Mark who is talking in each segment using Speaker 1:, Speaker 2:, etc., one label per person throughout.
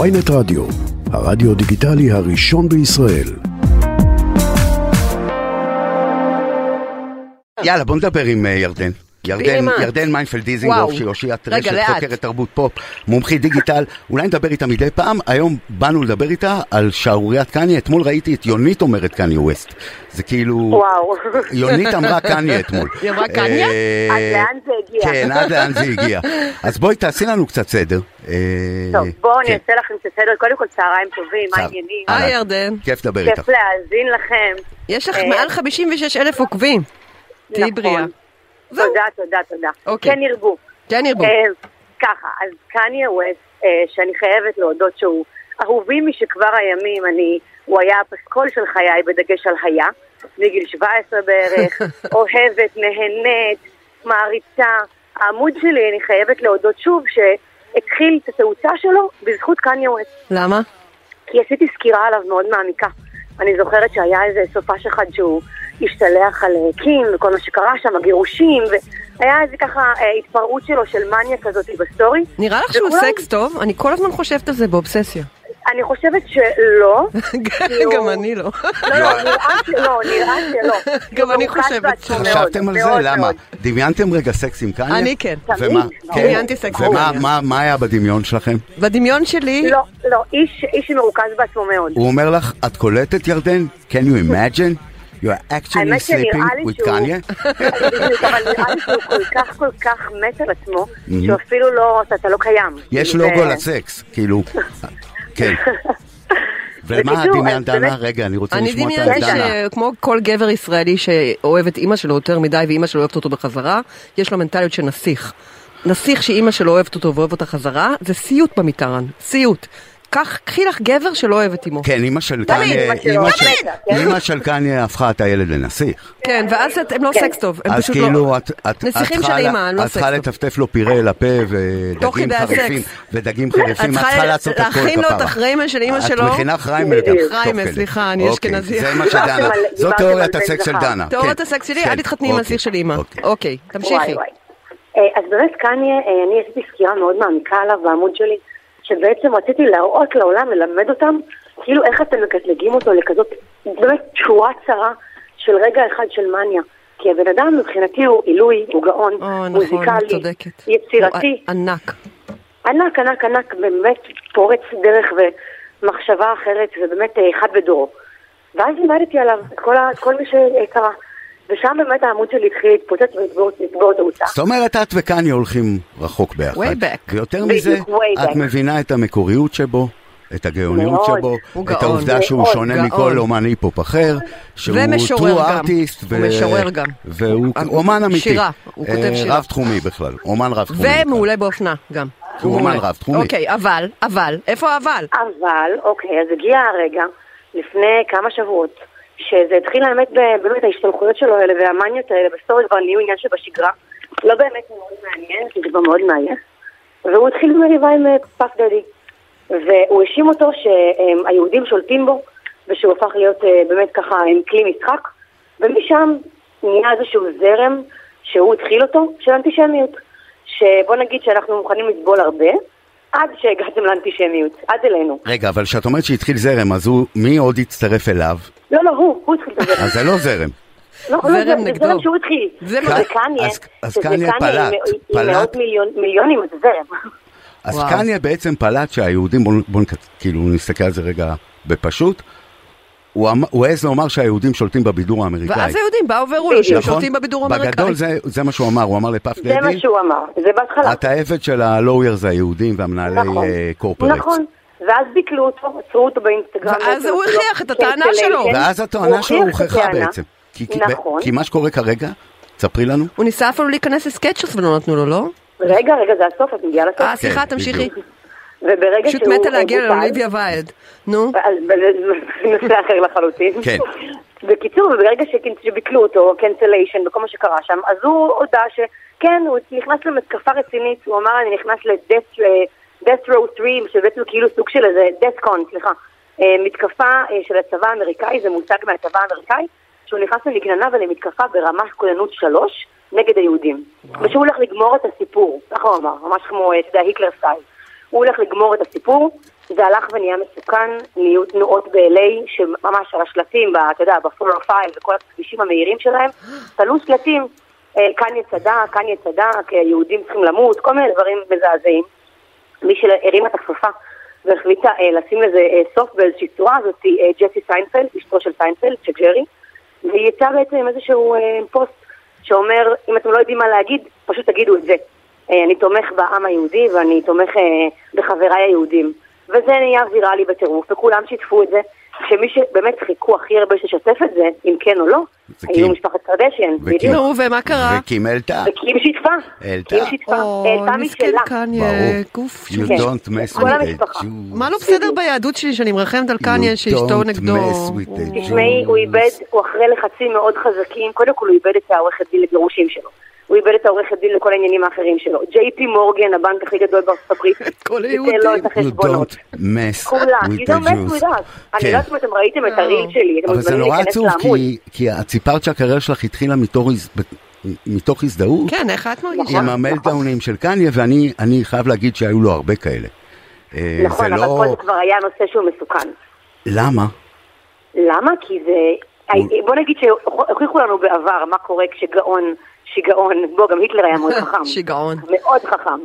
Speaker 1: ויינט רדיו, הרדיו דיגיטלי הראשון בישראל.
Speaker 2: יאללה, בוא נדבר עם אה, ירדן. ירדן,
Speaker 3: מה?
Speaker 2: ירדן מיינפלד
Speaker 3: וואו.
Speaker 2: דיזינגוף, שהיא אושיית
Speaker 3: רגע,
Speaker 2: רשת
Speaker 3: לאט.
Speaker 2: חוקרת תרבות פופ, מומחית דיגיטל, אולי נדבר איתה מדי פעם, היום באנו לדבר איתה על שערוריית קניה, אתמול ראיתי את יונית אומרת קניה ווסט. זה כאילו...
Speaker 4: וואו.
Speaker 2: יונית אמרה קניה אתמול.
Speaker 3: היא אמרה קניה?
Speaker 2: אה,
Speaker 4: עד לאן זה הגיע?
Speaker 2: כן, עד לאן זה הגיע. אז בואי תעשי לנו קצת סדר. אה,
Speaker 4: טוב, בואו אני
Speaker 2: כן,
Speaker 4: אעשה לכם את הסדר. קודם כל, צהריים טובים, מה
Speaker 2: צהר-
Speaker 4: העניינים?
Speaker 2: אה,
Speaker 3: היי ירדן,
Speaker 2: כיף לדבר איתך.
Speaker 4: כיף להאזין לכם.
Speaker 3: יש לך
Speaker 4: אה,
Speaker 3: מעל 56 אלף עוקבים. תהיי
Speaker 4: נכון.
Speaker 3: בריאה. זהו.
Speaker 4: תודה, תודה, תודה.
Speaker 3: אוקיי.
Speaker 4: כן ירבו.
Speaker 3: כן ירבו.
Speaker 4: אה, ככה, אז קניה ווסט, אה, שאני חייבת להודות שהוא אהובי משכבר הימים, אני, הוא היה הפסקול של חיי, בדגש על היה, מגיל 17 בערך, אוהבת, נהנית, מעריצה. העמוד שלי, אני חייבת להודות שוב, שהתחיל את התאוצה שלו בזכות קניה ווסט.
Speaker 3: למה?
Speaker 4: כי עשיתי סקירה עליו מאוד מעמיקה. אני זוכרת שהיה איזה סופש אחד שהוא השתלח על אה, קים וכל מה שקרה שם, הגירושים, והיה איזה ככה אה, התפרעות שלו של מניה כזאת בסטורי.
Speaker 3: נראה לך שהוא
Speaker 4: וכולם-
Speaker 3: סקס טוב? אני כל הזמן חושבת על זה באובססיה.
Speaker 4: אני חושבת שלא.
Speaker 3: גם אני לא.
Speaker 4: לא, לא, נראה שלא, נראה שלא.
Speaker 3: גם אני
Speaker 4: הוא מרוכז
Speaker 3: חושבת
Speaker 4: בעצמו מאוד,
Speaker 2: חשבתם על זה?
Speaker 4: מאוד,
Speaker 2: למה?
Speaker 4: מאוד.
Speaker 2: דמיינתם רגע סקס עם קניה?
Speaker 3: אני כן.
Speaker 4: תמיד,
Speaker 2: ומה?
Speaker 4: ברור.
Speaker 2: כן.
Speaker 3: דמיינתי סקס עם
Speaker 2: ומה
Speaker 3: קניה.
Speaker 2: מה- מה היה בדמיון שלכם?
Speaker 3: בדמיון שלי,
Speaker 4: לא, לא, איש, איש מרוכז בעצמו מאוד.
Speaker 2: הוא אומר לך, את קולטת ירדן? Can you imagine? You are actually
Speaker 4: האמת שנראה
Speaker 2: sleeping
Speaker 4: לי
Speaker 2: with
Speaker 4: שהוא-
Speaker 2: Kanye?
Speaker 4: בדיוק, אבל נראה לי שהוא כל כך כל כך מת על עצמו,
Speaker 2: Mhm.
Speaker 4: שהוא אפילו לא, אתה- אתה לא קיים. אה,
Speaker 2: יש
Speaker 4: ו-
Speaker 2: לוגו לסקס, כאילו. כן. ומה
Speaker 4: בקיצור,
Speaker 2: דמיינת,
Speaker 4: אז באמת-
Speaker 2: דנה? רגע, אני רוצה
Speaker 3: אני
Speaker 2: לשמוע את
Speaker 3: דמיינתי
Speaker 2: הדנה.
Speaker 3: שכמו כל גבר ישראלי שאוהב את אימא שלו יותר מדי ואימא שלו אוהבת אותו בחזרה, יש לו מנטליות של נסיך. נסיך שאימא שלו אוהבת אותו ואוהב אותה חזרה, זה סיוט במיתרן, סיוט. קח, קחי לך גבר שלא אוהב את אימו.
Speaker 2: כן, אימא של
Speaker 4: תמיד,
Speaker 2: קניה,
Speaker 4: אמא שלו,
Speaker 2: אימא
Speaker 4: תמיד,
Speaker 2: של-
Speaker 4: כן.
Speaker 2: אימא של קניה הפכה את הילד לנסיך.
Speaker 3: כן, ואז את- הם לא
Speaker 4: כן.
Speaker 3: סקס טוב, הם
Speaker 2: אז
Speaker 3: פשוט לא...
Speaker 2: כאילו, את את- את
Speaker 3: נסיכים של
Speaker 2: צריכה לה-
Speaker 3: אימא, לא
Speaker 2: את צריכה
Speaker 3: סקס.
Speaker 2: לטפטף לו פירה לפה
Speaker 3: תוך
Speaker 2: ודגים
Speaker 3: כדי הסקס.
Speaker 2: חריפים, ודגים חריפים, את צריכה לעשות הכל
Speaker 3: להכין לו את
Speaker 2: כפרה.
Speaker 3: החריימה של אימא שלו.
Speaker 2: את מכינה חריימה גם.
Speaker 4: בדיוק.
Speaker 2: תוך
Speaker 3: חריימה,
Speaker 2: כדי.
Speaker 3: סליחה, אני
Speaker 2: אוקיי,
Speaker 3: אשכנזיה.
Speaker 2: זה מה שדנה.
Speaker 4: דיברתם על-
Speaker 2: זו
Speaker 4: דיברתם
Speaker 2: תיאוריית
Speaker 4: על בן
Speaker 2: הסקס של
Speaker 4: זכר.
Speaker 2: דנה.
Speaker 3: תאורת
Speaker 2: כן.
Speaker 3: הסקס שלי,
Speaker 2: כן,
Speaker 3: אל תתחתני עם
Speaker 2: אוקיי,
Speaker 3: הנסיך של אימא.
Speaker 2: אוקיי.
Speaker 3: אוקיי, תמשיכי.
Speaker 4: וואי, וואי. אה, אז באמת קניה, אה, אני עשיתי סקירה מאוד מעמיקה עליו בעמוד שלי, שבעצם רציתי להראות לעולם, ללמד אותם, כאילו איך אתם מקטלגים אותו לכזאת, באמת שורה צרה של רגע אחד של מניה. כי הבן אדם מבחינתי הוא עילוי, הוא גאון,
Speaker 3: או, נכון, את
Speaker 4: מוזיקלי,
Speaker 3: צודקת.
Speaker 4: יצירתי,
Speaker 3: הוא אה, ענק.
Speaker 4: ענק, ענק, ענק, באמת פורץ דרך ומחשבה אחרת, ובאמת אה, אחד בדורו. ואז לימדתי עליו את כל, ה- את כל מי שקרה. ושם באמת העמוד שלי התחיל להתפוצץ ולצבור תאוצה.
Speaker 2: זאת אומרת, את וקניה הולכים רחוק ביחד.
Speaker 3: Way back.
Speaker 2: ויותר
Speaker 4: בדיוק,
Speaker 2: מזה,
Speaker 4: way
Speaker 2: את
Speaker 4: back.
Speaker 2: מבינה את המקוריות שבו. את הגאוניות
Speaker 4: מאוד.
Speaker 2: שבו,
Speaker 3: הוא
Speaker 2: את
Speaker 3: גאון.
Speaker 2: העובדה שהוא
Speaker 4: מאוד
Speaker 2: שונה
Speaker 3: גאון.
Speaker 2: מכל אומן היפ-הופ אחר, שהוא
Speaker 3: ומשורר
Speaker 2: true
Speaker 3: גם.
Speaker 2: artist,
Speaker 3: הוא משורר גם.
Speaker 2: והוא
Speaker 3: אה,
Speaker 2: אומן אמיתי,
Speaker 3: שירה, הוא כותב
Speaker 2: אה,
Speaker 3: שירה.
Speaker 2: רב תחומי בכלל, אומן רב תחומי,
Speaker 3: ומעולה באופנה גם.
Speaker 2: הוא אומן
Speaker 3: מעולה.
Speaker 2: רב-תחומי.
Speaker 3: אוקיי, אבל, אבל, איפה האבל?
Speaker 4: אבל, אוקיי, אז הגיע הרגע, לפני כמה שבועות, שזה התחיל האמת, ב- באמת ההשתלחויות שלו האלה והמניות האלה בסטורי כבר נהיו עניין שבשגרה. לא באמת מאוד מעניין, כי זה כבר מאוד מעייף. והוא התחיל במריבה עם אה, פאק דדי. והוא האשים אותו שהיהודים שולטים בו, ושהוא הפך להיות אה, באמת ככה עם כלי משחק. ומשם נהיה איזשהו זרם שהוא התחיל אותו, של אנטישמיות. שבוא נגיד שאנחנו מוכנים לסבול הרבה, עד שהגעתם לאנטישמיות, עד אלינו.
Speaker 2: רגע, אבל כשאת אומרת שהתחיל זרם, אז הוא, מי עוד הצטרף אליו?
Speaker 4: לא, לא, הוא, הוא התחיל את הזרם.
Speaker 2: אז זה לא זרם.
Speaker 4: לא, לא,
Speaker 3: זרם
Speaker 4: זה-
Speaker 3: נגדו.
Speaker 4: זה זרם שהוא התחיל.
Speaker 3: זה
Speaker 4: זה
Speaker 3: מה-
Speaker 4: קניה,
Speaker 2: אז- אז
Speaker 4: שזה
Speaker 2: קניה
Speaker 4: קניה עם-
Speaker 2: פלט,
Speaker 4: עם
Speaker 2: פלט.
Speaker 4: מאות מיליון- מיליונים, זה זרם.
Speaker 2: אז
Speaker 3: וואו.
Speaker 2: קניה בעצם פלט שהיהודים, בואו בוא, נק- כאילו נסתכל על זה רגע בפשוט, הוא אמ- הוא העז לומר שהיהודים שולטים בבידור האמריקאי.
Speaker 3: ואז היהודים באו והראו לו שהם
Speaker 2: נכון?
Speaker 3: שולטים בבידור האמריקאי.
Speaker 2: בגדול זה, זה מה שהוא אמר, הוא אמר לפאף
Speaker 4: זה מה
Speaker 2: דדי,
Speaker 4: שהוא אמר, זה בהתחלה.
Speaker 2: את העבד של הלואוירס היהודים והמנהלי אה,
Speaker 4: נכון.
Speaker 2: קורפרט.
Speaker 4: נכון. ואז ביטלו אותו, עצרו אותו באינסטגרם.
Speaker 3: ואז הוא
Speaker 4: בעצם,
Speaker 3: הכריח את
Speaker 4: כן,
Speaker 3: הטענה
Speaker 4: כן,
Speaker 3: שלו.
Speaker 4: כן.
Speaker 2: ואז הטענה שלו
Speaker 4: הוכיח את
Speaker 2: הוכחה
Speaker 4: הטענה.
Speaker 2: בעצם. כי, כי-
Speaker 4: נכון.
Speaker 2: כי מה שקורה כרגע, תספרי לנו.
Speaker 3: הוא ניסה אפילו להיכנס לסקצ'ס ולא נתנו לו, לא?
Speaker 4: רגע, רגע, זה הסוף, את מגיעה לסוף.
Speaker 3: אה, סליחה,
Speaker 2: כן,
Speaker 3: תמשיכי.
Speaker 2: בדיוק.
Speaker 4: וברגע
Speaker 3: פשוט
Speaker 4: שהוא
Speaker 3: מתה להגיע
Speaker 4: בוטל-
Speaker 3: לאוליביה ויילד. נו,
Speaker 4: אז זה נושא אחר לחלוטין.
Speaker 2: כן.
Speaker 4: בקיצור, ברגע שכן- שביטלו אותו, קנסליישן וכל מה שקרה שם, אז הוא הודה שכן, הוא נכנס למתקפה רצינית, הוא אמר, אני נכנס לדאט death row 3, שבעצם כאילו סוג של איזה death con, סליחה, אה, מתקפה אה, של הצבא האמריקאי, זה מוצג מהצבא האמריקאי, שהוא נכנס למגננה ולמתקפה ברמת כוננות 3 נגד היהודים. ושהוא הולך לגמור את הסיפור, ככה הוא אמר, ממש כמו, אה, אתה יודע, היטלר סטייל. הוא הולך לגמור את הסיפור, זה הלך ונהיה מסוכן, נהיו תנועות ב-LA, שממש על השלטים, ב- אתה יודע, בפולר פייל וכל הכבישים המהירים שלהם, תלו שלטים, אה, קניה צדק, קניה צדק, אה, יהודים צריכים למות, כל מיני דברים מזעזעים. מי שהרימה את הכפפה והחליטה אה, לשים לזה אה, סוף באיזושהי צורה, זאת היא אה, ג'סי סיינפלד, אשתו של סיינפלד, של ג'רי, והיא יצאה בעצם עם איזשהו אה, פוסט שאומר, אם אתם לא יודעים מה להגיד, פשוט תגידו את זה. אה, אני תומך בעם היהודי ואני תומך אה, בחבריי היהודים. וזה נהיה ויראלי בטירוף, וכולם שיתפו את זה, שמי שבאמת חיכו הכי הרבה ששתף את זה, אם כן או לא,
Speaker 2: זה
Speaker 4: היו
Speaker 2: כי-
Speaker 4: משפחת קרדשיין,
Speaker 2: וכי-
Speaker 4: בדיוק.
Speaker 3: נו, ומה קרה?
Speaker 2: וקים העלתה.
Speaker 4: וקים שיתפה,
Speaker 2: העלתה.
Speaker 4: קים שיתפה,
Speaker 3: או,
Speaker 4: העלתה
Speaker 3: מסכן
Speaker 4: משלה.
Speaker 3: קניה,
Speaker 2: ברור. לא-
Speaker 3: גוף
Speaker 2: You
Speaker 4: כן.
Speaker 3: של-
Speaker 2: don't mess
Speaker 4: כל
Speaker 2: with the
Speaker 4: המשפחה.
Speaker 2: Jews.
Speaker 3: מה לא בסדר ביהדות שלי שאני מרחמת על קניה שאשתו
Speaker 2: don't
Speaker 3: נגדו?
Speaker 2: mess with the
Speaker 3: וואו.
Speaker 2: Jews.
Speaker 4: תשמעי, הוא איבד, הוא אחרי לחצים מאוד חזקים, קודם כל הוא איבד את העורכת דין לגירושים שלו. הוא איבד את העורכת דין לכל העניינים האחרים שלו. ג'יי פי מורגן, הבנק הכי גדול בארצות הברית,
Speaker 3: כל
Speaker 4: ביטל לו לא את
Speaker 3: היהודים.
Speaker 2: You
Speaker 4: החשבונות.
Speaker 2: don't mess
Speaker 4: כולם,
Speaker 2: with
Speaker 4: you
Speaker 2: the
Speaker 4: don't mess
Speaker 2: Jews. כן.
Speaker 4: with us. אני לא יודעת אם אתם ראיתם את הריל שלי, אתם
Speaker 2: אבל זה
Speaker 4: מוזמנים
Speaker 2: נורא
Speaker 4: להיכנס
Speaker 2: עצוב,
Speaker 4: לעמוד.
Speaker 2: כי- כי את סיפרת שהקריירה שלך התחילה מתור הז- ב- מתוך הזדהות
Speaker 3: כן, איך את
Speaker 4: נכון,
Speaker 3: מרגישה?
Speaker 2: עם המלטאונים של קניה, ואני אני חייב להגיד שהיו לו הרבה כאלה. אה,
Speaker 4: נכון,
Speaker 2: זה
Speaker 4: אבל
Speaker 2: לא...
Speaker 4: פה זה כבר היה נושא שהוא מסוכן.
Speaker 2: למה?
Speaker 4: למה? כי זה... אה, בוא נגיד שהוכיחו לנו בעבר מה קורה כשגאון, שיגעון, בוא, גם היטלר היה מאוד חכם.
Speaker 3: שיגעון.
Speaker 4: מאוד חכם.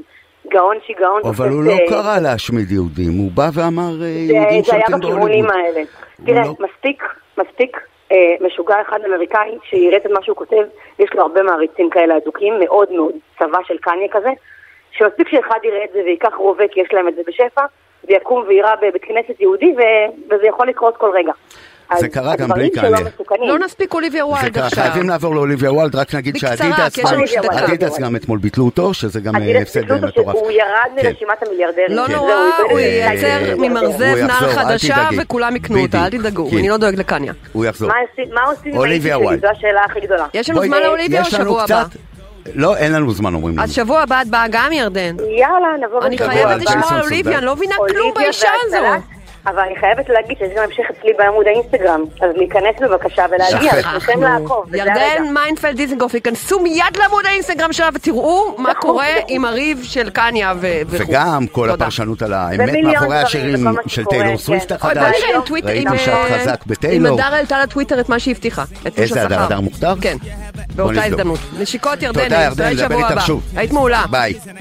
Speaker 4: גאון, שיגעון.
Speaker 2: אבל הוא
Speaker 4: תופס,
Speaker 2: לא
Speaker 4: אה,
Speaker 2: קרא להשמיד יהודים, הוא בא ואמר אה, יהודים
Speaker 4: זה, זה היה
Speaker 2: שאתם
Speaker 4: בכיוונים
Speaker 2: בהוליווד.
Speaker 4: האלה. תראה,
Speaker 2: לא-
Speaker 4: מספיק, מספיק אה, משוגע אחד אמריקאי שיראה את מה שהוא כותב, יש לו הרבה מעריצים כאלה אדוקים, מאוד מאוד, צבא של קניה כזה, שמספיק שאחד יראה את זה וייקח רובה כי יש להם את זה בשפע, ויקום ויירה בבית כנסת יהודי, ו... וזה יכול לקרות כל רגע.
Speaker 2: זה
Speaker 4: אז
Speaker 2: קרה גם
Speaker 4: הדברים
Speaker 2: בלי
Speaker 4: שלו
Speaker 2: קניה.
Speaker 4: מסוכנים.
Speaker 3: לא נספיק אוליביה
Speaker 2: זה
Speaker 3: ווילד
Speaker 2: קרה,
Speaker 3: עכשיו.
Speaker 2: חייבים לעבור לאוליביה וולד, רק נגיד
Speaker 3: בקצרה,
Speaker 2: שהדידס
Speaker 3: כי יש
Speaker 2: גם-
Speaker 3: לנו
Speaker 4: דקה.
Speaker 2: הדידס גם אתמול ביטלו אותו, שזה גם
Speaker 4: אז
Speaker 2: אה,
Speaker 4: הנה,
Speaker 2: הפסד
Speaker 4: תסתכלו אותו
Speaker 2: מטורף.
Speaker 4: שהוא ירד
Speaker 2: כן.
Speaker 4: מרשימת המיליארדרים.
Speaker 3: לא
Speaker 2: כן.
Speaker 3: נורא,
Speaker 4: זהו, איבד
Speaker 3: הוא
Speaker 4: את כן,
Speaker 2: אה,
Speaker 3: ייצר
Speaker 4: המיליארדרים.
Speaker 2: הוא
Speaker 3: ממרזב נעל
Speaker 2: יחזור, אל
Speaker 3: חדשה
Speaker 2: תדאגי.
Speaker 3: וכולם יקנו אותה, אל
Speaker 2: בדיוק.
Speaker 3: תדאגו,
Speaker 2: כן.
Speaker 3: אני לא דואג לקניה.
Speaker 2: הוא יחזור.
Speaker 4: מה עושים- מה עושים עם
Speaker 2: אוליביה
Speaker 4: האישי
Speaker 2: וואלד.
Speaker 4: שלי? זו השאלה הכי גדולה.
Speaker 3: יש לנו
Speaker 2: בואי,
Speaker 3: זמן
Speaker 2: אה,
Speaker 3: לאוליביה או
Speaker 2: יש לנו
Speaker 3: שבוע הבא?
Speaker 2: קצת- לא, אין לנו זמן אומרים לנו.
Speaker 3: אז שבוע הבא את באה גם ירדן.
Speaker 4: יאללה, נבוא
Speaker 3: אני
Speaker 4: בשבוע
Speaker 3: חייבת
Speaker 2: הבא.
Speaker 3: לשמוע על
Speaker 2: ג'ייסון
Speaker 3: אוליביה, אני לא מבינה כלום
Speaker 4: אוליביה
Speaker 3: באישה הזו.
Speaker 4: והצלת, אבל אני חייבת להגיד שיש גם המשך אצלי בעמוד האינסטגרם, אז להיכנס בבקשה ולהגיע,
Speaker 2: שכחנו.
Speaker 4: לכם לעקוב, וזה הרגע.
Speaker 3: ירדן מיינפלד דיזנגוף, ייכנסו מיד לעמוד האינסטגרם שלה ותראו מה
Speaker 4: נכון,
Speaker 3: קורה
Speaker 4: נכון.
Speaker 3: עם הריב של קניה ו- וכו'.
Speaker 2: וגם כל
Speaker 3: תודה.
Speaker 2: הפרשנות על האמת
Speaker 4: ומיליון
Speaker 2: מאחורי
Speaker 4: דברים
Speaker 2: השירים
Speaker 4: וכל מה
Speaker 2: של
Speaker 4: שקורה,
Speaker 2: טיילור
Speaker 4: כן.
Speaker 2: סוויפט
Speaker 4: אוי,
Speaker 2: החדש.
Speaker 3: ראיתי עם טוויטר, עם...
Speaker 2: ראיתם שאת
Speaker 3: אה,
Speaker 2: חזק בטיילור.
Speaker 3: עם הדר העלתה לטוויטר את מה שהבטיחה. את תלוש
Speaker 2: איזה הדר?
Speaker 3: השכר.
Speaker 2: הדר מוכתר?
Speaker 3: כן,
Speaker 2: בוא
Speaker 3: באותה
Speaker 2: נבדוק.
Speaker 3: הזדמנות. נשיקות ירדן,
Speaker 2: תודה
Speaker 3: נתראה
Speaker 2: ירדן, נדבר
Speaker 3: שבוע
Speaker 2: איתך
Speaker 3: הבא.
Speaker 2: שוב.
Speaker 3: היית מעולה.
Speaker 2: ביי.